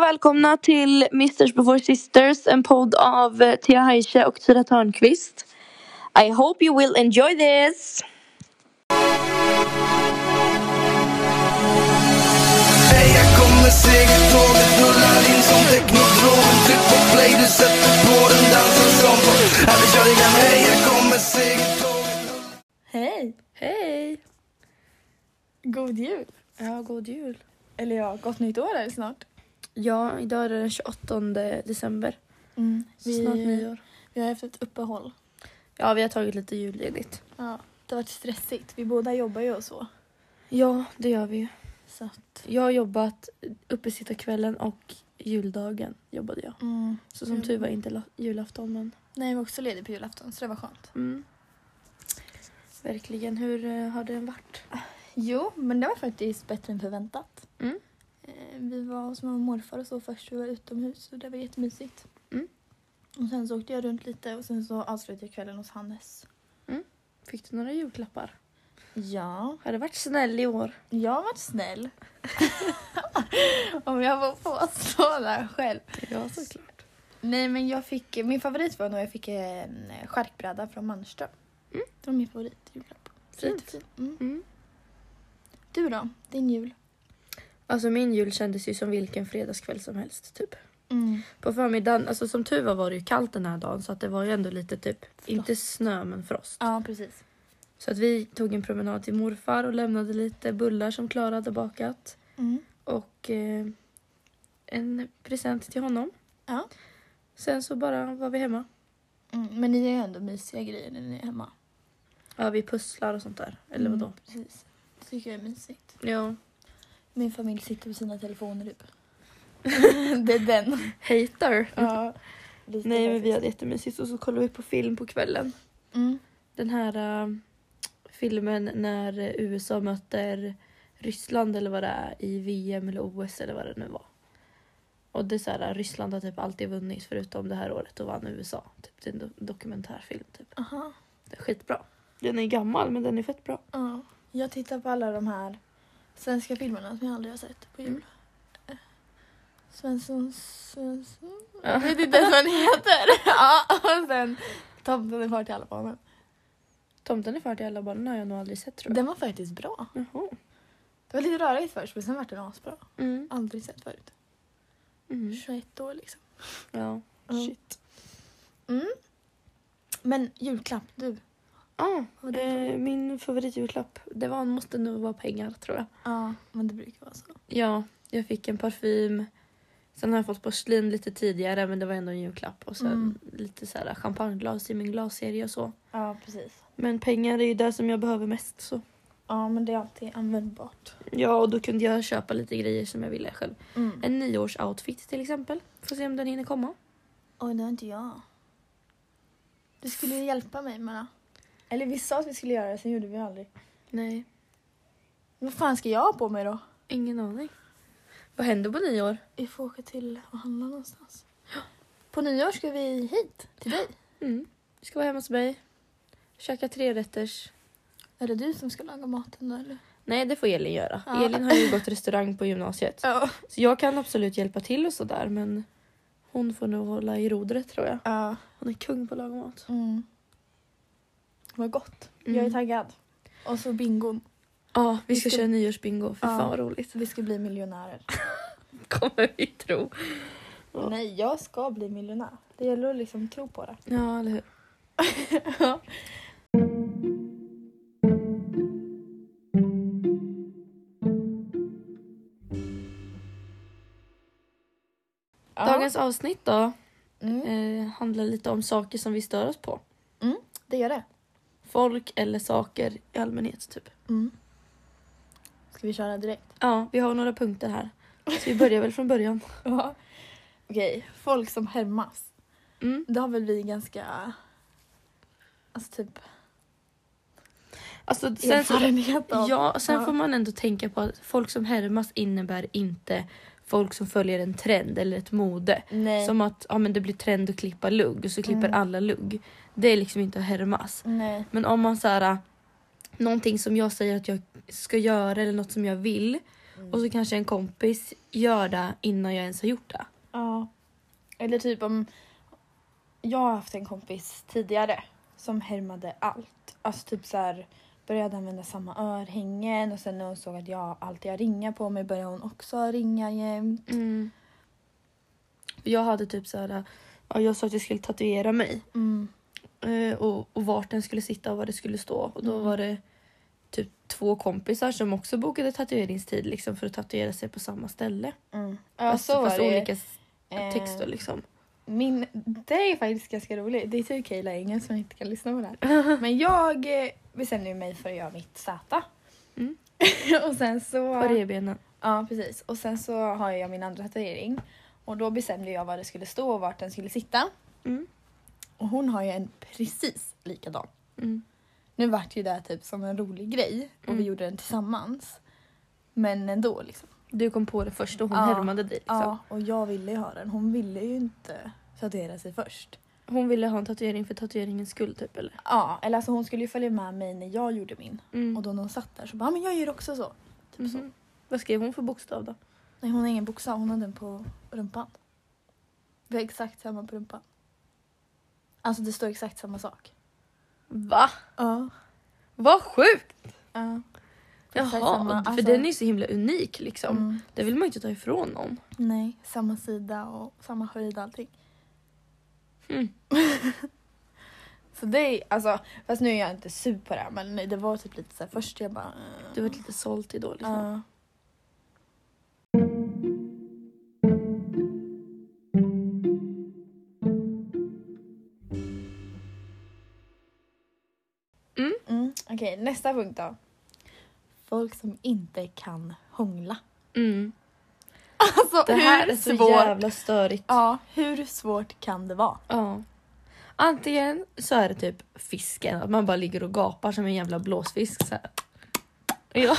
välkomna till Misters Before Sisters, en podd av eh, Thea Heise och Tyra Törnqvist. I hope you will enjoy this! Hej, jag kommer segertåget rullar in som teknodromen Tryck på play, du sätter på den dansen som på Här vi kör igen, hej, jag kommer segertåget Hej! Hej! God jul! Ja, god jul. Eller ja, gott nytt år är det snart. Ja, idag är det den 28 december. Så Vi, snart nyår. vi har haft ett uppehåll. Ja, vi har tagit lite julledigt. Ja, det har varit stressigt. Vi båda jobbar ju och så. Ja, det gör vi ju. så att, Jag har jobbat uppesittarkvällen och juldagen jobbade jag. Så som Mm. tur var inte la- julafton men Nej, vi var också ledig på julafton så det var skönt. mm. verkligen. Hur eh, har den varit? Jo, men det var faktiskt bättre än förväntat. Mm. Eh, Vi var hos mamma och morfar och så först. Vi var utomhus och det var jättemysigt. Mm. Och sen så åkte jag runt lite och sen så avslutade jag kvällen hos Hannes. Fick du några julklappar? Ja, Har du varit snäll i år? jag har varit snäll. Om jag får påstå det här själv. Ja, såklart. Nej men jag fick, min favorit var nog jag fick en charkbräda från Mannerström. Mm. Det var min favorit julklapp. Fint. Fint. Mm. Mm. Du då? Din jul? Alltså min jul kändes ju som vilken fredagskväll som helst typ. På förmiddagen, alltså som tur var var det ju kallt den här dagen så att det var ju ändå lite typ, inte snö men frost. Ja precis. Så att vi tog en promenad till morfar och lämnade lite bullar som Klara hade bakat. Mm. Och eh, en present till honom. Ja. Sen så bara var vi hemma. Mm. Men ni är ju ändå mysiga grejer när ni är hemma. Ja, vi pusslar och sånt där. Eller vadå? Mm, precis. Det tycker jag är mysigt. Ja. Min familj sitter på sina telefoner typ. det är den. Hater. Ja. Lite Nej men vi faktiskt. hade jättemysigt och så kollade vi på film på kvällen. Mm. Den här eh, filmen när eh, USA möter Ryssland eller vad det är i VM eller OS eller vad det nu var. Och det är så här, Ryssland har typ alltid vunnit förutom det här året och vann USA. Typ, det är en do- dokumentärfilm typ. Aha. Den är skitbra. Den är gammal men den är fett bra. Ja, jag tittar på alla de här svenska filmerna som jag aldrig har sett på jul. Mm. Eh, Svensson, Svensson... Ja. Jag vet inte ens vad den heter. ja, och sen Tomten är far till alla barnen. Tomten är far till alla barnen har jag nog aldrig sett tror jag. Den var faktiskt bra. Jaha. Det var lite rörigt först men sen var den asbra. Mm. Aldrig sett förut. Mm. 21 år liksom. Ja. Ja. Shit. Mm. Men julklapp, du. Ah, Vad var det för- eh, min favoritjulklapp, det var, måste nog vara pengar tror jag. Ja, men det brukar vara så. Ja, jag fick en parfym. Sen har jag fått porslin lite tidigare men det var ändå en julklapp. Och sen Mm. lite så här champagneglas i min glasserie och så. Ja, precis. Men pengar är ju det som jag behöver mest så. Ja, men det är alltid användbart. Ja, och då kunde jag köpa lite grejer som jag ville själv. Mm. En nyårsoutfit till exempel. Får se om den hinner komma. Oj, det har inte jag. Du skulle ju hjälpa mig med det. Eller vi sa att vi skulle göra det, sen gjorde vi aldrig. Nej, Vad fan ska jag ha på mig då? ingen aning. Vad händer på nyår? Vi får åka till och handla någonstans. På nyår ska vi hit, till dig. Mm. Vi ska vara hemma hos mig. Käka trerätters. Är det du som ska laga maten då eller? Nej, det får Elin göra. Ja. Elin har ju gått restaurang på gymnasiet. Ja. Så jag kan absolut hjälpa till och sådär men hon får nog hålla i rodret tror jag. Ja. Hon är kung på att laga mat. Mm. Vad gott. Mm. Jag är taggad. Och så bingon. Ja, vi ska ska- köra nyårsbingo. För Ja. fan vad roligt. Vi ska bli miljonärer. Kommer vi tro. Ja. Nej, jag ska bli miljonär. Det gäller att liksom tro på det. Ja, eller hur. Ja. Dagens avsnitt då Mm. eh, handlar lite om saker som vi stör oss på. Det gör det. Folk eller saker i allmänhet typ. Mm. Ska vi köra direkt? Ja, vi har några punkter här. Så vi börjar väl från början. Ja. Okej, folk som hämmas. Mm. Det har väl vi ganska... Alltså typ Alltså, sen, så, erfarenhet av. ja, sen Ja. får man ändå tänka på att folk som härmas innebär inte folk som följer en trend eller ett mode. Nej. Som att ja, men det blir trend att klippa lugg och så klipper Mm. alla lugg. Det är liksom inte att härmas. Nej. äh, Men om man så här, någonting som jag säger att jag ska göra eller något som jag vill Mm. Och så kanske en kompis gör det innan jag ens har gjort det. Ja. Eller typ om... Jag har haft en kompis tidigare som härmade allt. Alltså typ så här började använda samma örhängen och sen när hon såg att jag alltid har ringar på mig började hon också ringa jämt. Jag hade typ så här, ja, jag sa att jag skulle tatuera mig Mm. eh, och, och vart den skulle sitta och vad det skulle stå. Och då Mm. var det typ två kompisar som också bokade tatueringstid liksom, för att tatuera sig på samma ställe. Mm. Ja, så Fast- var fast det. Alltså, olika s- Eh, texter liksom. Min, det är faktiskt ganska roligt. Det är tur Kayla Engen som inte kan lyssna på det här. Men jag eh, bestämde ju mig för att göra mitt Z. Mm. och sen så... På revbenen. Ja, precis. Och sen så har jag min andra tatuering. Och då bestämde jag vad det skulle stå och vart den skulle sitta. Mm. Och hon har ju en precis likadan. Mm. Nu vart ju det här typ som en rolig grej och vi gjorde den tillsammans. Men ändå liksom. Du kom på det först och hon Ja. härmade dig. Liksom. Ja, och jag ville ju ha den. Hon ville ju inte tatuera sig först. Hon ville ha en tatuering för tatueringens skull typ eller? Ja, eller alltså hon skulle ju följa med mig när jag gjorde min. Mm. Och då när hon satt där så bara, "Ja, men jag gör också så. Typ så. Mhm. Vad skrev hon för bokstav då? Nej, hon har ingen bokstav, hon har den på rumpan. Vi har exakt samma på rumpan. Alltså det står exakt samma sak. Va? Ja. Vad sjukt! Ja. Jaha, Exakt samma, för alltså- den är ju så himla unik liksom. Mm. Det vill man ju inte ta ifrån någon. Nej, samma sida och samma höjd och allting. Mm. Så det är, alltså, fast nu är jag inte sur på det här, men nej, det var typ lite så här först jag bara... eh, Du var lite såld till då liksom. ja. Mm. Mm, Okej, nästa punkt då. Folk som inte kan hångla. Mm. Alltså Det här hur är så svårt? jävla störigt. Ja, hur svårt kan det vara? Ja. Antingen så är det typ fisken, att man bara ligger och gapar som en jävla blåsfisk. Så här. Ja.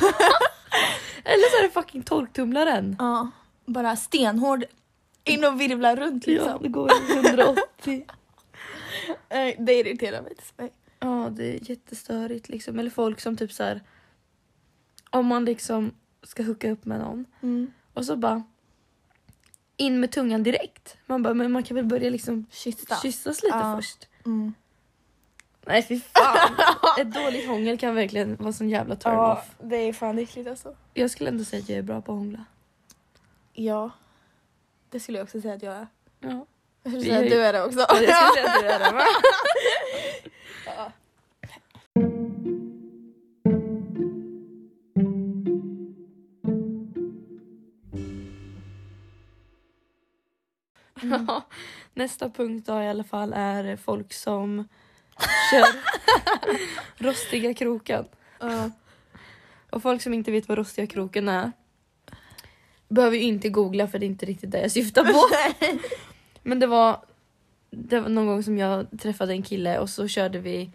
Eller så är det fucking torktumlaren. Ja, bara stenhård in och virvlar runt Ja, liksom. Typ det går i 180. Eh, Det irriterar mig till sig. Ja, det är jättestörigt liksom. Eller folk som typ så här. Om man liksom ska hooka upp med någon Mm. och så bara in med tungan direkt. Man bara, men man kan väl börja liksom Kyssa. kyssas lite Ja. först. Mm. Nej fy fan. Ett dåligt hångel kan verkligen vara sån jävla turn Ja, off. det är fan äckligt alltså. Jag skulle ändå säga att jag är bra på att hångla. Ja. Det skulle jag också säga att jag är. Ja. Jag skulle Vi säga är att ju- du är det också. Jag skulle säga att du är det va? Mm. Ja. Nästa punkt då i alla fall är folk som kör rostiga kroken. Ja. Och folk som inte vet vad rostiga kroken är behöver ju inte googla för det är inte riktigt det jag syftar på. Men det var, det var någon gång som jag träffade en kille och så körde vi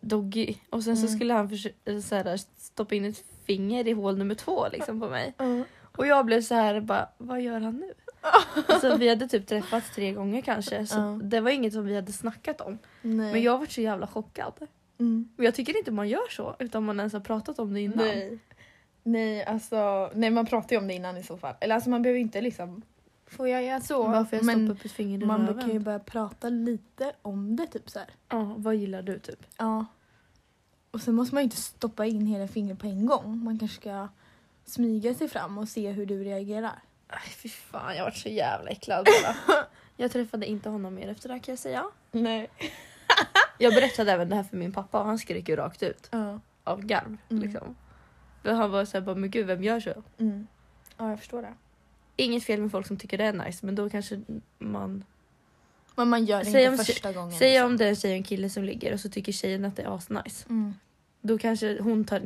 Doggy och sen så Mm. skulle han förs- eh, så här, stoppa in ett finger i hål nummer två liksom på mig. Mm. Och jag blev så här bara, vad gör han nu? alltså, vi hade typ träffats tre gånger kanske så Ja. det var inget som vi hade snackat om. Nej. Men jag var så jävla chockad. Mm. Och jag tycker inte man gör så utan man ens har pratat om det innan. Nej. Nej, alltså. Nej, man pratar ju om det innan i så fall. Eller alltså man behöver inte liksom. Får jag göra så? Bara för jag men stoppar upp ett finger i man röven. kan ju börja prata lite om det typ så här. Ja, vad gillar du typ? Ja. Och sen måste man ju inte stoppa in hela fingret på en gång. Man kanske ska smyga sig fram och se hur du reagerar. Aj, fy fan, jag varit så jävla äcklad bara. jag träffade inte honom mer efter det här kan jag säga. Nej. Jag berättade även det här för min pappa och han skrek ju rakt ut Ja. av garv. Mm. Liksom. För han var såhär bara, men gud vem gör så? Mm. Ja, jag förstår det. Inget fel med folk som tycker det är nice men då kanske man... Men man gör det Säg inte om- första gången. liksom. Säg om det är en tjej och en kille som ligger och så tycker tjejen att det är asnice. Mm. Då kanske hon tar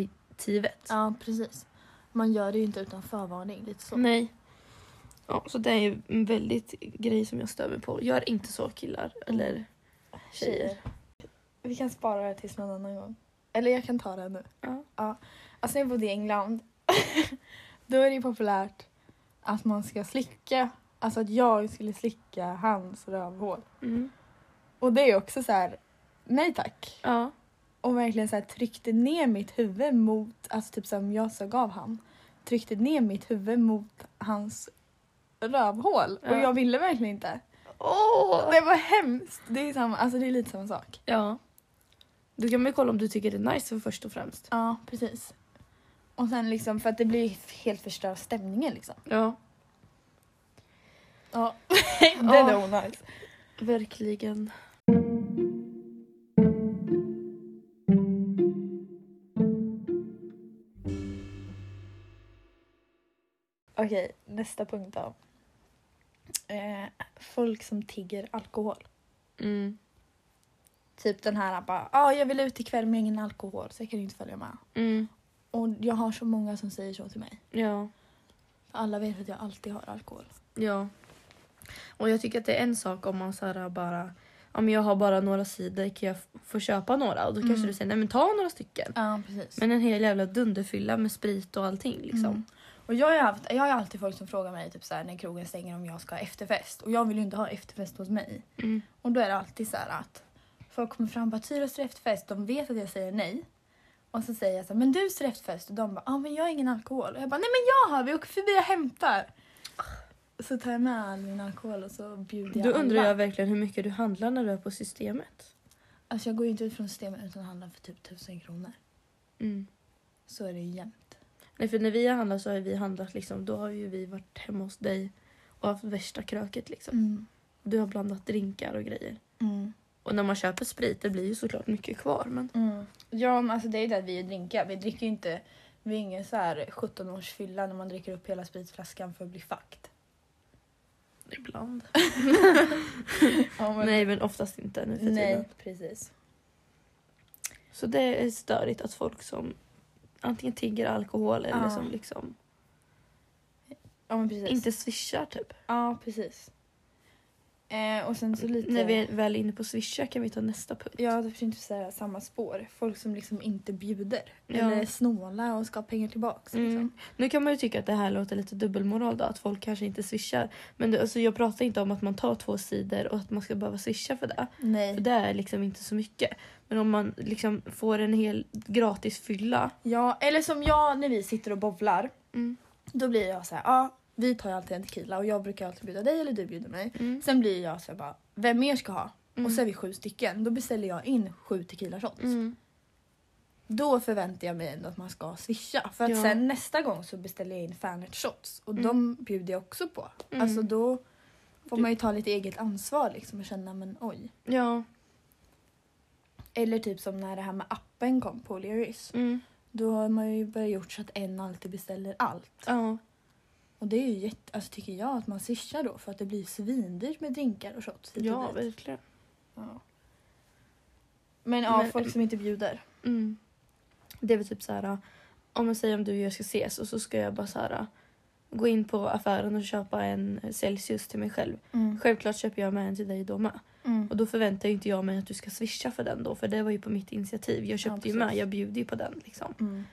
initiativet. Ja, precis. Man gör det ju inte utan förvarning. Lite så. Nej. Ja, så det är ju en väldigt grej som jag stör mig på. Gör inte så killar eller tjejer. Vi kan spara det tills någon annan gång. Eller jag kan ta det nu. Ja. Alltså när jag bodde i England, då är det ju populärt att man ska slicka. Alltså att jag skulle slicka hans rövhål. Mm. Och det är ju också så här, nej tack. Ja. och verkligen så här, tryckte ner mitt huvud mot, alltså typ som jag såg av han. Tryckte ner mitt huvud mot hans rövhål och Ja. jag ville verkligen inte. Åh! Det var hemskt! Det är, samma, alltså, det är lite samma sak. Ja. Då kan man ju kolla om du tycker det är nice för först och främst. Ja, precis. Och sen liksom för att det blir helt förstör stämningen liksom. Ja, Ja. Den är onajs. verkligen. Okej, nästa punkt då. Eh, folk som tigger alkohol. Mm. Typ den här bara, ja ah, jag vill ut ikväll men jag har ingen alkohol så jag kan inte följa med. Mm. Och jag har så många som säger så till mig. Ja. Alla vet att jag alltid har alkohol. Ja. Och jag tycker att det är en sak om man så här bara... Om jag har bara några sidor kan jag f- få köpa några? Och då kanske Mm. du säger nej men ta några stycken. Ja, precis. Men en hel jävla dunderfylla med sprit och allting liksom. Mm. Och jag har, ju haft, jag har ju alltid folk som frågar mig typ så här, när krogen stänger om jag ska ha efterfest. Och jag vill ju inte ha efterfest hos mig. Mm. Och då är det alltid så här att folk kommer fram och bara Tyra ska du ha efterfest. De vet att jag säger nej. Och så säger jag så här, men du ska ha efterfest. Och de bara, ja ah, men jag har ingen alkohol. Och jag bara, nej men jag har, vi åker förbi och hämtar. Så tar jag med all min alkohol och så bjuder jag Då undrar alla. jag verkligen hur mycket du handlar när du är på systemet. Alltså jag går ju inte ut från systemet utan handlar för typ tusen kronor. Mm. Så är det ju jämt. Nej för när vi har handlat så har vi handlat liksom, då har ju vi varit hemma hos dig och haft värsta kröket liksom. Mm. Du har blandat drinkar och grejer. Mm. Och när man köper sprit det blir ju såklart mycket kvar men Mm. Ja, men alltså det är ju det att vi drinkar. Vi dricker ju inte, vi är ingen så här 17-årsfylla när man dricker upp hela spritflaskan för att bli fucked. ibland. Ja, men- Nej men oftast inte nu för tiden. Nej, precis. Så det är störigt att folk som antingen tigger alkohol eller Ja. som liksom Ja, men precis. inte swishar typ. Ja, precis. Eh, och sen så lite... När vi är väl inne på swisha kan vi ta nästa punkt. Ja, det inte säga samma spår. Folk som liksom inte bjuder. Ja. Eller är snåla och ska ha pengar tillbaka. Mm. Liksom. Nu kan man ju tycka att det här låter lite dubbelmoral då, att folk kanske inte swishar. Men det, alltså, jag pratar inte om att man tar två sidor och att man ska behöva swisha för det. För Nej. det är liksom inte så mycket. Men om man liksom får en hel gratis fylla. Ja, eller som jag när vi sitter och bovlar. Mm. Då blir jag så här, ja, vi tar ju alltid en tequila och jag brukar alltid bjuda dig eller du bjuder mig. Mm. Sen blir jag så här bara, vem mer ska ha? Mm. Och så är vi sju stycken. Då beställer jag in sju tequila shots. Mm. Då förväntar jag mig ändå att man ska swisha. För att Ja. sen nästa gång så beställer jag in fanet shots. Och de bjuder jag också på. Mm. Alltså då får Du- man ju ta lite eget ansvar liksom och känna men oj. Ja. Eller typ som när det här med appen kom på O'Learys. Mm. Då har man ju börjat gjort så att en alltid beställer allt. ja. Och det är ju jätte, alltså tycker jag att man swishar då för att det blir svindyrt med drinkar och shots. hit och Ja, dit. verkligen. Ja. Men ja, Men- folk som inte bjuder. Mm. Det är väl typ så här, om jag säger om du och jag ska ses och så ska jag bara så här, gå in på affären och köpa en Celsius till mig själv. Självklart köper jag med en till dig då med. Mm. Och då förväntar ju inte jag mig att du ska swisha för den då för det var ju på mitt initiativ. Jag köpte ju precis. med, jag bjuder ju på den liksom. Mm.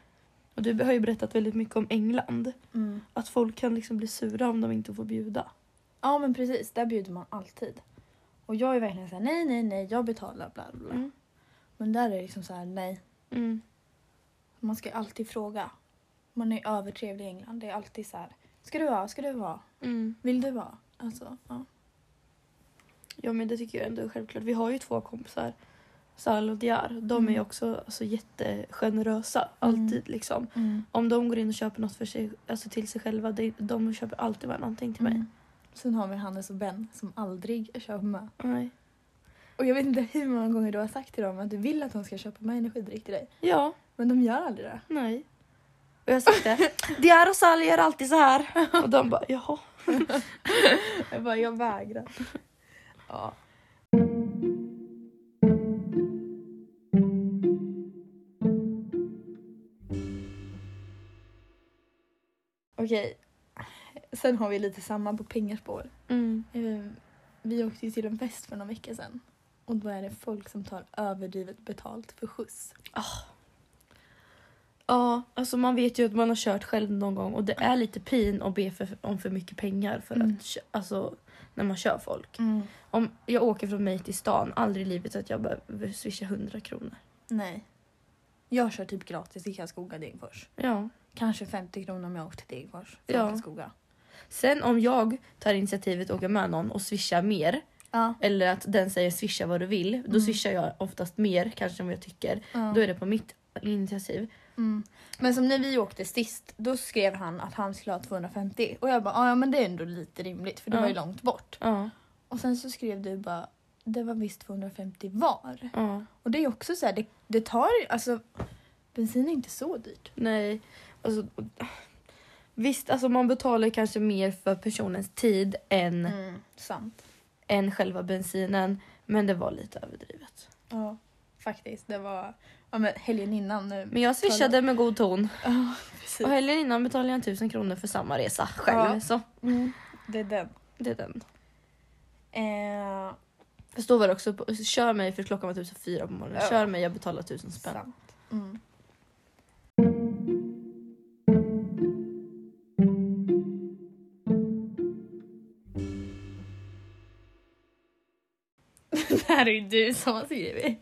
Och du har ju berättat väldigt mycket om England. Mm. Att folk kan liksom bli sura om de inte får bjuda. Ja men precis, där bjuder man alltid. Och jag är verkligen såhär nej nej nej jag betalar bla bla bla. Mm. Men där är det liksom såhär nej. Mm. Man ska alltid fråga. Man är övertrevlig i England. Det är alltid så här. Ska du ha? Ska du ha? Mm. Vill du ha? Alltså ja. Ja men det tycker jag ändå är självklart. Vi har ju två kompisar, Sal och Diar. De är Mm. ju också alltså, jättegenerösa, alltid Mm. liksom. Om de går in och köper något för sig, alltså till sig själva, det, de köper alltid bara någonting till mig. Mm. Sen har vi Hannes och Ben som aldrig köper med. Nej. Och jag vet inte hur många gånger du har sagt till dem att du vill att de ska köpa med energidryck till dig. Ja, Men de gör aldrig det. nej. Och jag har sagt det, Diar och Sal gör alltid så här. Och de bara jaha. Jag bara, jag vägrar. ja. Okej. Sen har vi lite samma på pengaspår. Mm. Eh, Vi åkte ju till en fest för några veckor sedan. Och då är det folk som tar överdrivet betalt för skjuts. Ja, alltså man vet ju att man har kört själv någon gång och det är lite pin att be för, om för mycket pengar för Mm. att kö- alltså, när man kör folk. Om jag åker från mig till stan, aldrig i livet att jag behöver swisha 100 kronor. Nej. Jag kör typ gratis i Karlskoga Degerfors. Ja. Kanske 50 kronor om jag åker till Degerfors från Ja. Karlskoga. Sen om jag tar initiativet att åka med någon och swishar mer Ja. eller att den säger swisha vad du vill, då swishar jag oftast mer kanske om jag tycker. Mm. Ja. Då är det på mitt initiativ. Mm. Men som när vi åkte sist, då skrev han att han skulle ha 250 och jag bara "Ah, ja men det är ändå lite rimligt för det Ja. var ju långt bort. Ja, Och sen så skrev du bara det var visst 250 var. ja. Och det är ju också så här, det, det tar alltså bensin är inte så dyrt. Nej. Alltså, visst, alltså man betalar kanske mer för personens tid än, Mm, sant. än själva bensinen. Men det var lite överdrivet. Ja, faktiskt. Det var ja, men helgen innan nu. Men jag swishade med god ton. Ja, Och precis. helgen innan betalade jag 1000 kronor för samma resa själv. Ja. Så Mm, det är den. det är den. Eh, Det står väl också på, kör mig för klockan var typ så fyra på morgonen. Ja. Kör mig, jag betalar 1000 spänn. sant. Mm. Det här är ju du som har skrivit.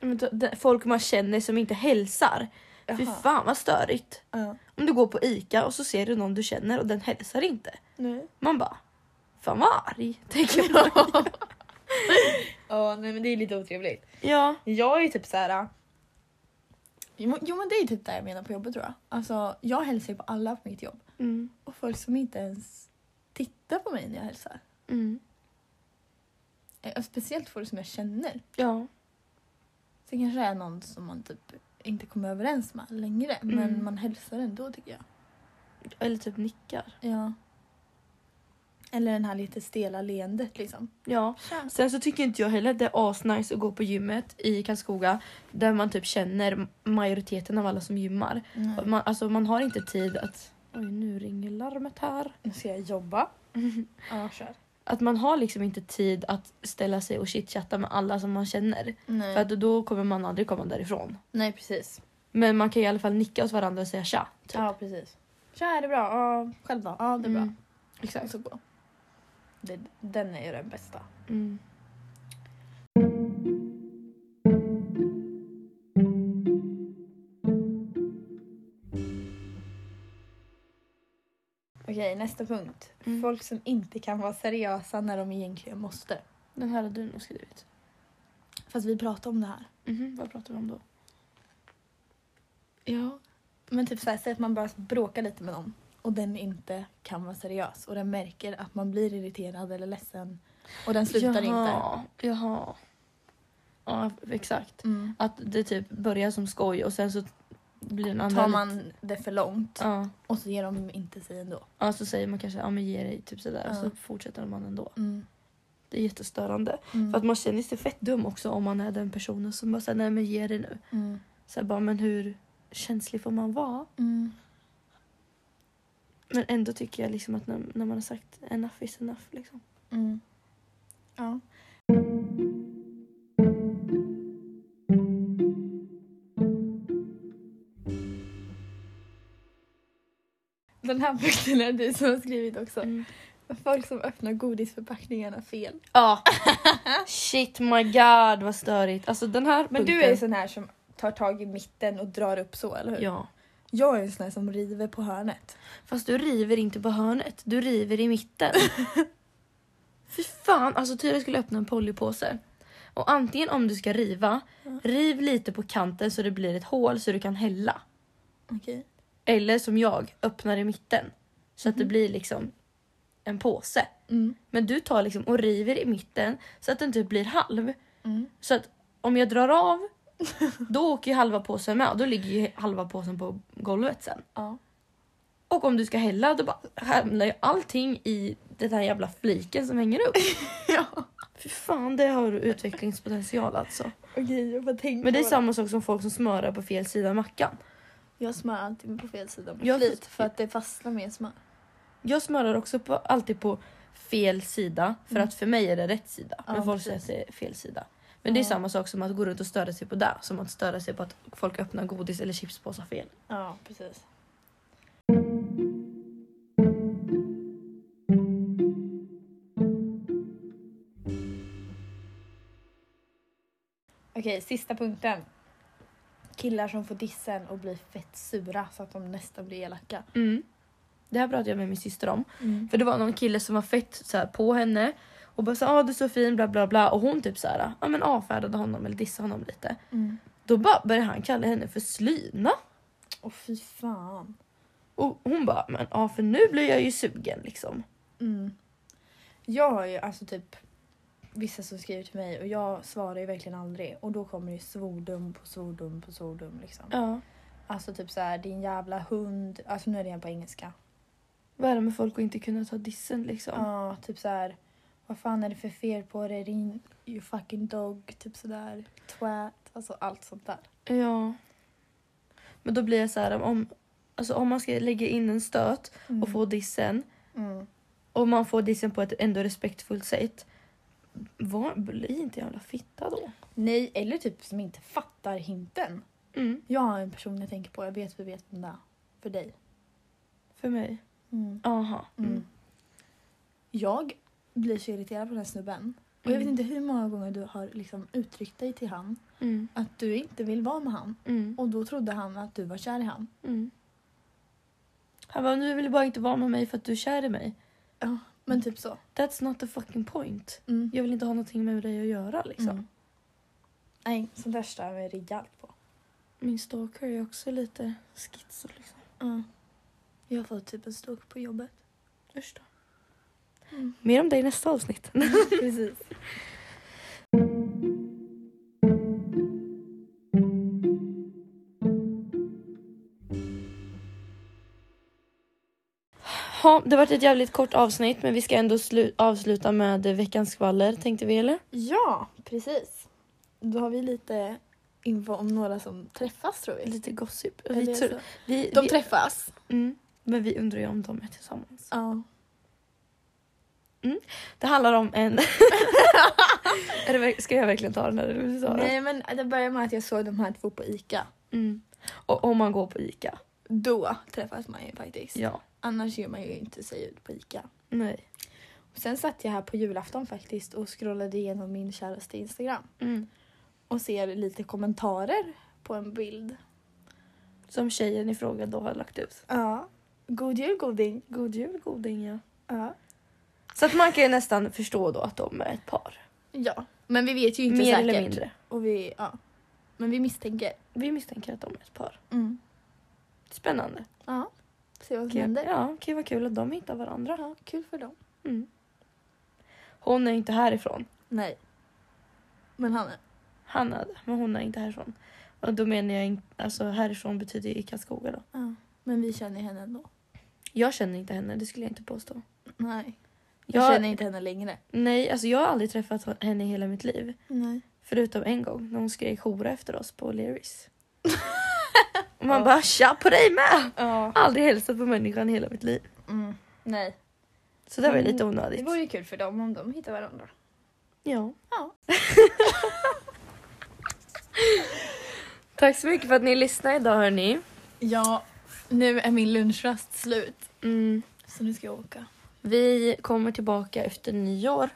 Men då- det- Folk man känner som inte hälsar. Fy Jaha. fan vad störigt. Ja. Om du går på Ica och så ser du någon du känner och den hälsar inte. Nej. Man bara, fan vad arg, tänker man. Ja, nej men det är lite otrevligt. ja, Jag är typ så här. Jo, jo men det är typ det jag menar på jobbet tror jag. Alltså jag hälsar ju på alla på mitt jobb. mm, Och folk som inte ens tittar på mig när jag hälsar. mm, Eh, Speciellt folk som jag känner. ja, Sen kanske det är någon som man typ inte kommer överens med längre. Men Mm. man hälsar ändå tycker jag. eller typ nickar. Ja. Eller den här lite stela leendet liksom. Ja. Tja. Sen så tycker inte jag heller att det är asnice att gå på gymmet i Karlskoga där man typ känner majoriteten av alla som gymmar. Nej. Man, alltså man har inte tid att... Oj, nu ringer larmet här. Nu ska jag jobba. Ja, kör. Att man har liksom inte tid att ställa sig och chitchatta med alla som man känner. Nej. För att då kommer man aldrig komma därifrån. Nej precis. Typ. Men man kan i alla fall nicka åt varandra och säga tja. typ. Ja precis. Tja är det bra? Ja, själv då? Ja det är bra. Mm. Exakt. så bra. Det, den är ju den bästa. Mm. Okej, nästa punkt. Mm. Folk som inte kan vara seriösa när de egentligen måste. Den här har du nog skrivit. Fast vi pratade om det här. Mhm, vad pratar vi om då? Ja. Men typ såhär, säg att man bara bråkar lite med någon och den inte kan vara seriös och den märker att man blir irriterad eller ledsen och den slutar inte. jaha, Jaha. Ja, exakt. Mm. Att det typ börjar som skoj och sen så blir den andra... Tar lite- man det för långt Ja. och så ger de inte sig ändå. ja, så säger man kanske ja men ge dig typ sådär och Ja. så fortsätter man ändå. Mm. Det är jättestörande. Mm. För att man känner sig fett dum också om man är den personen som bara säger nej men ge dig nu. Mm. Så här, bara men hur känslig får man vara? Mm. Men ändå tycker jag liksom att när, när man har sagt enough is enough liksom. Mm. Ja. Den här punkten är du som har skrivit också. Mm. Folk som öppnar godisförpackningarna fel. Ja. Shit my god vad störigt. Alltså den här Men du är ju sån här som tar tag i mitten och drar upp så, eller hur? Ja. Jag är ju sån här som river på hörnet. Fast du river inte på hörnet, du river i mitten. Fy fan, alltså Tyra skulle öppna en Pollypåse. Och antingen om du ska riva, riv lite på kanten så det blir ett hål så du kan hälla. Okej. Eller som jag, öppnar i mitten. Så att det blir liksom en påse. Mm. Men du tar liksom och river i mitten så att den typ blir halv. Mm. Så att om jag drar av, då åker ju halva påsen med. Och då ligger ju halva påsen på golvet sen. Ja. Och om du ska hälla då bara hamnar ju allting i den här jävla fliken som hänger upp. ja. Fy fan, det har du utvecklingspotential alltså. Okej, jag får tänka Men det är på samma sak som folk som smörar på fel sida av mackan. Jag smör alltid på fel sida med Jag- flit för att det fastnar mer smör. Jag smörar också på, alltid på fel sida för att för mig är det rätt sida. Mm. Ja, men folk säger precis. att det är fel sida. Men det är Ja. samma sak som att gå runt och störa sig på det. Som att störa sig på att folk öppnar godis eller chipspåsar fel. Ja, precis. Okej, sista punkten. Killar som får dissen och blir fett sura så att de nästan blir elaka. Mm. Det här pratade jag med min syster om. Mm, För det var någon kille som var fett så här, på henne och bara så ah, du är så fin bla bla bla och hon typ så här, ja men avfärdade honom eller dissade honom lite. Mm. Då bara började han kalla henne för slyna Och fy fan. och hon bara men ja för nu blir jag ju sugen liksom. Mm. Jag har ju alltså typ vissa som skriver till mig och jag svarar ju verkligen aldrig och då kommer det ju svordom på svordom på svordom liksom. Ja. Alltså typ så här din jävla hund, alltså nu är det igen på engelska. Vad är det med folk att inte kunna ta dissen liksom? Ja, typ så här vad fan är det för fel på dig din you fucking dog, typ sådär twat, alltså allt sånt där. Ja. Men då blir jag så här om, alltså om man ska lägga in en stöt Mm. och få dissen Mm. och man får dissen på ett ändå respektfullt sätt. Var, bli inte jävla fitta då. Nej, eller typ som inte fattar hinten. Mm, Jag har en person jag tänker på, jag vet vi vet vem det är. För dig. för mig. Mm. Aha. Mm. Mm. Jag blir så irriterad på den här snubben. Och jag vet Mm. inte hur många gånger du har liksom uttryckt dig till han Mm. att du inte vill vara med han. Mm. Och då trodde han att du var kär i han. Mm. Han bara, nu vill du bara inte vara med mig för att du är kär i mig. Ja, men typ så. That's not the fucking point. Mm. Jag vill inte ha någonting med dig att göra liksom. Mm. Nej, sånt där stör jag mig rejält på. Min stalker är också lite schizo liksom. Mm. Jag har fått typ en stalk på jobbet. Usch då. Mm. Mer om dig i nästa avsnitt. Precis. Ha, det har varit ett jävligt kort avsnitt men vi ska ändå slu- avsluta med eh, veckans skvaller tänkte vi eller? Ja, precis. Då har vi lite info om några som träffas tror vi. Lite gossip. Eller Vi tror, så. vi, De vi, träffas. mm, men vi undrar ju om de är tillsammans. Ja. Det handlar om en... är det, verk- ska jag verkligen ta den här? eller vill du ta den? Nej men det börjar med att jag såg de här två på ICA. Mm. Och om man går på Ica. Då träffas man ju faktiskt. Ja. Annars gör man ju inte sig ut på ICA. Nej. Sen satt jag här på julafton faktiskt och scrollade igenom min käraste Instagram Mm. och ser lite kommentarer på en bild. Som tjejen i fråga då har lagt ut. Ja. God jul goding. God jul goding ja. Ja. Så att man kan ju nästan förstå då att de är ett par. Ja. Men vi vet ju inte Mer säkert. eller mindre. Och vi, ja. Men vi misstänker. Vi misstänker att de är ett par. Mm. Spännande. Ja. Se vad som Kul. händer. Ja, kan ju vara kul att de hittar varandra. Ja, kul för dem. Mm. Hon är inte härifrån. Nej. Men han är. Han är det, men hon är inte härifrån. Och då menar jag inte, alltså härifrån betyder ju i Karlskoga då. Ja. Men vi känner henne ändå. Jag känner inte henne, det skulle jag inte påstå. Nej. Jag, Jag, känner inte henne längre. Nej, alltså jag har aldrig träffat henne i hela mitt liv. Nej. Förutom en gång när hon skrek hora efter oss på Leris. Och man bara tja på dig med! Ja. Aldrig hälsat på människan i hela mitt liv. Mm. Nej. Så det var ju Mm, lite Det onödigt. vore ju kul för dem om de hittar varandra. Ja. Ja. Tack så mycket för att ni lyssnade idag hörni. Ja, nu är min lunchrast slut. Mm. Så nu ska jag åka. Vi kommer tillbaka efter nyår.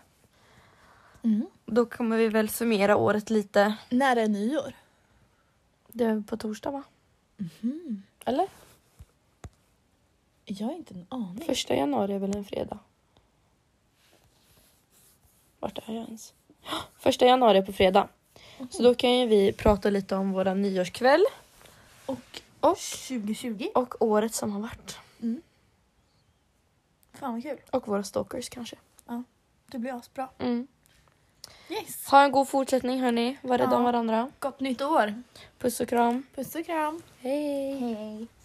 Mm. Då kommer vi väl summera året lite. När är nyår? Det är på torsdag va? Mhm. Eller? Jag har inte en aning. Första januari är väl en fredag? Vart är jag ens? Första januari är på fredag. Så då kan ju vi prata lite om våran nyårskväll Och och, 2020? och året som har varit. Fan vad kul. Och våra stalkers kanske. Det blir asbra. Mm. Yes. Ha en god fortsättning hörni. Var rädda Ja. om varandra. Gott nytt år. Puss och kram. Puss och kram. Hej. Hej.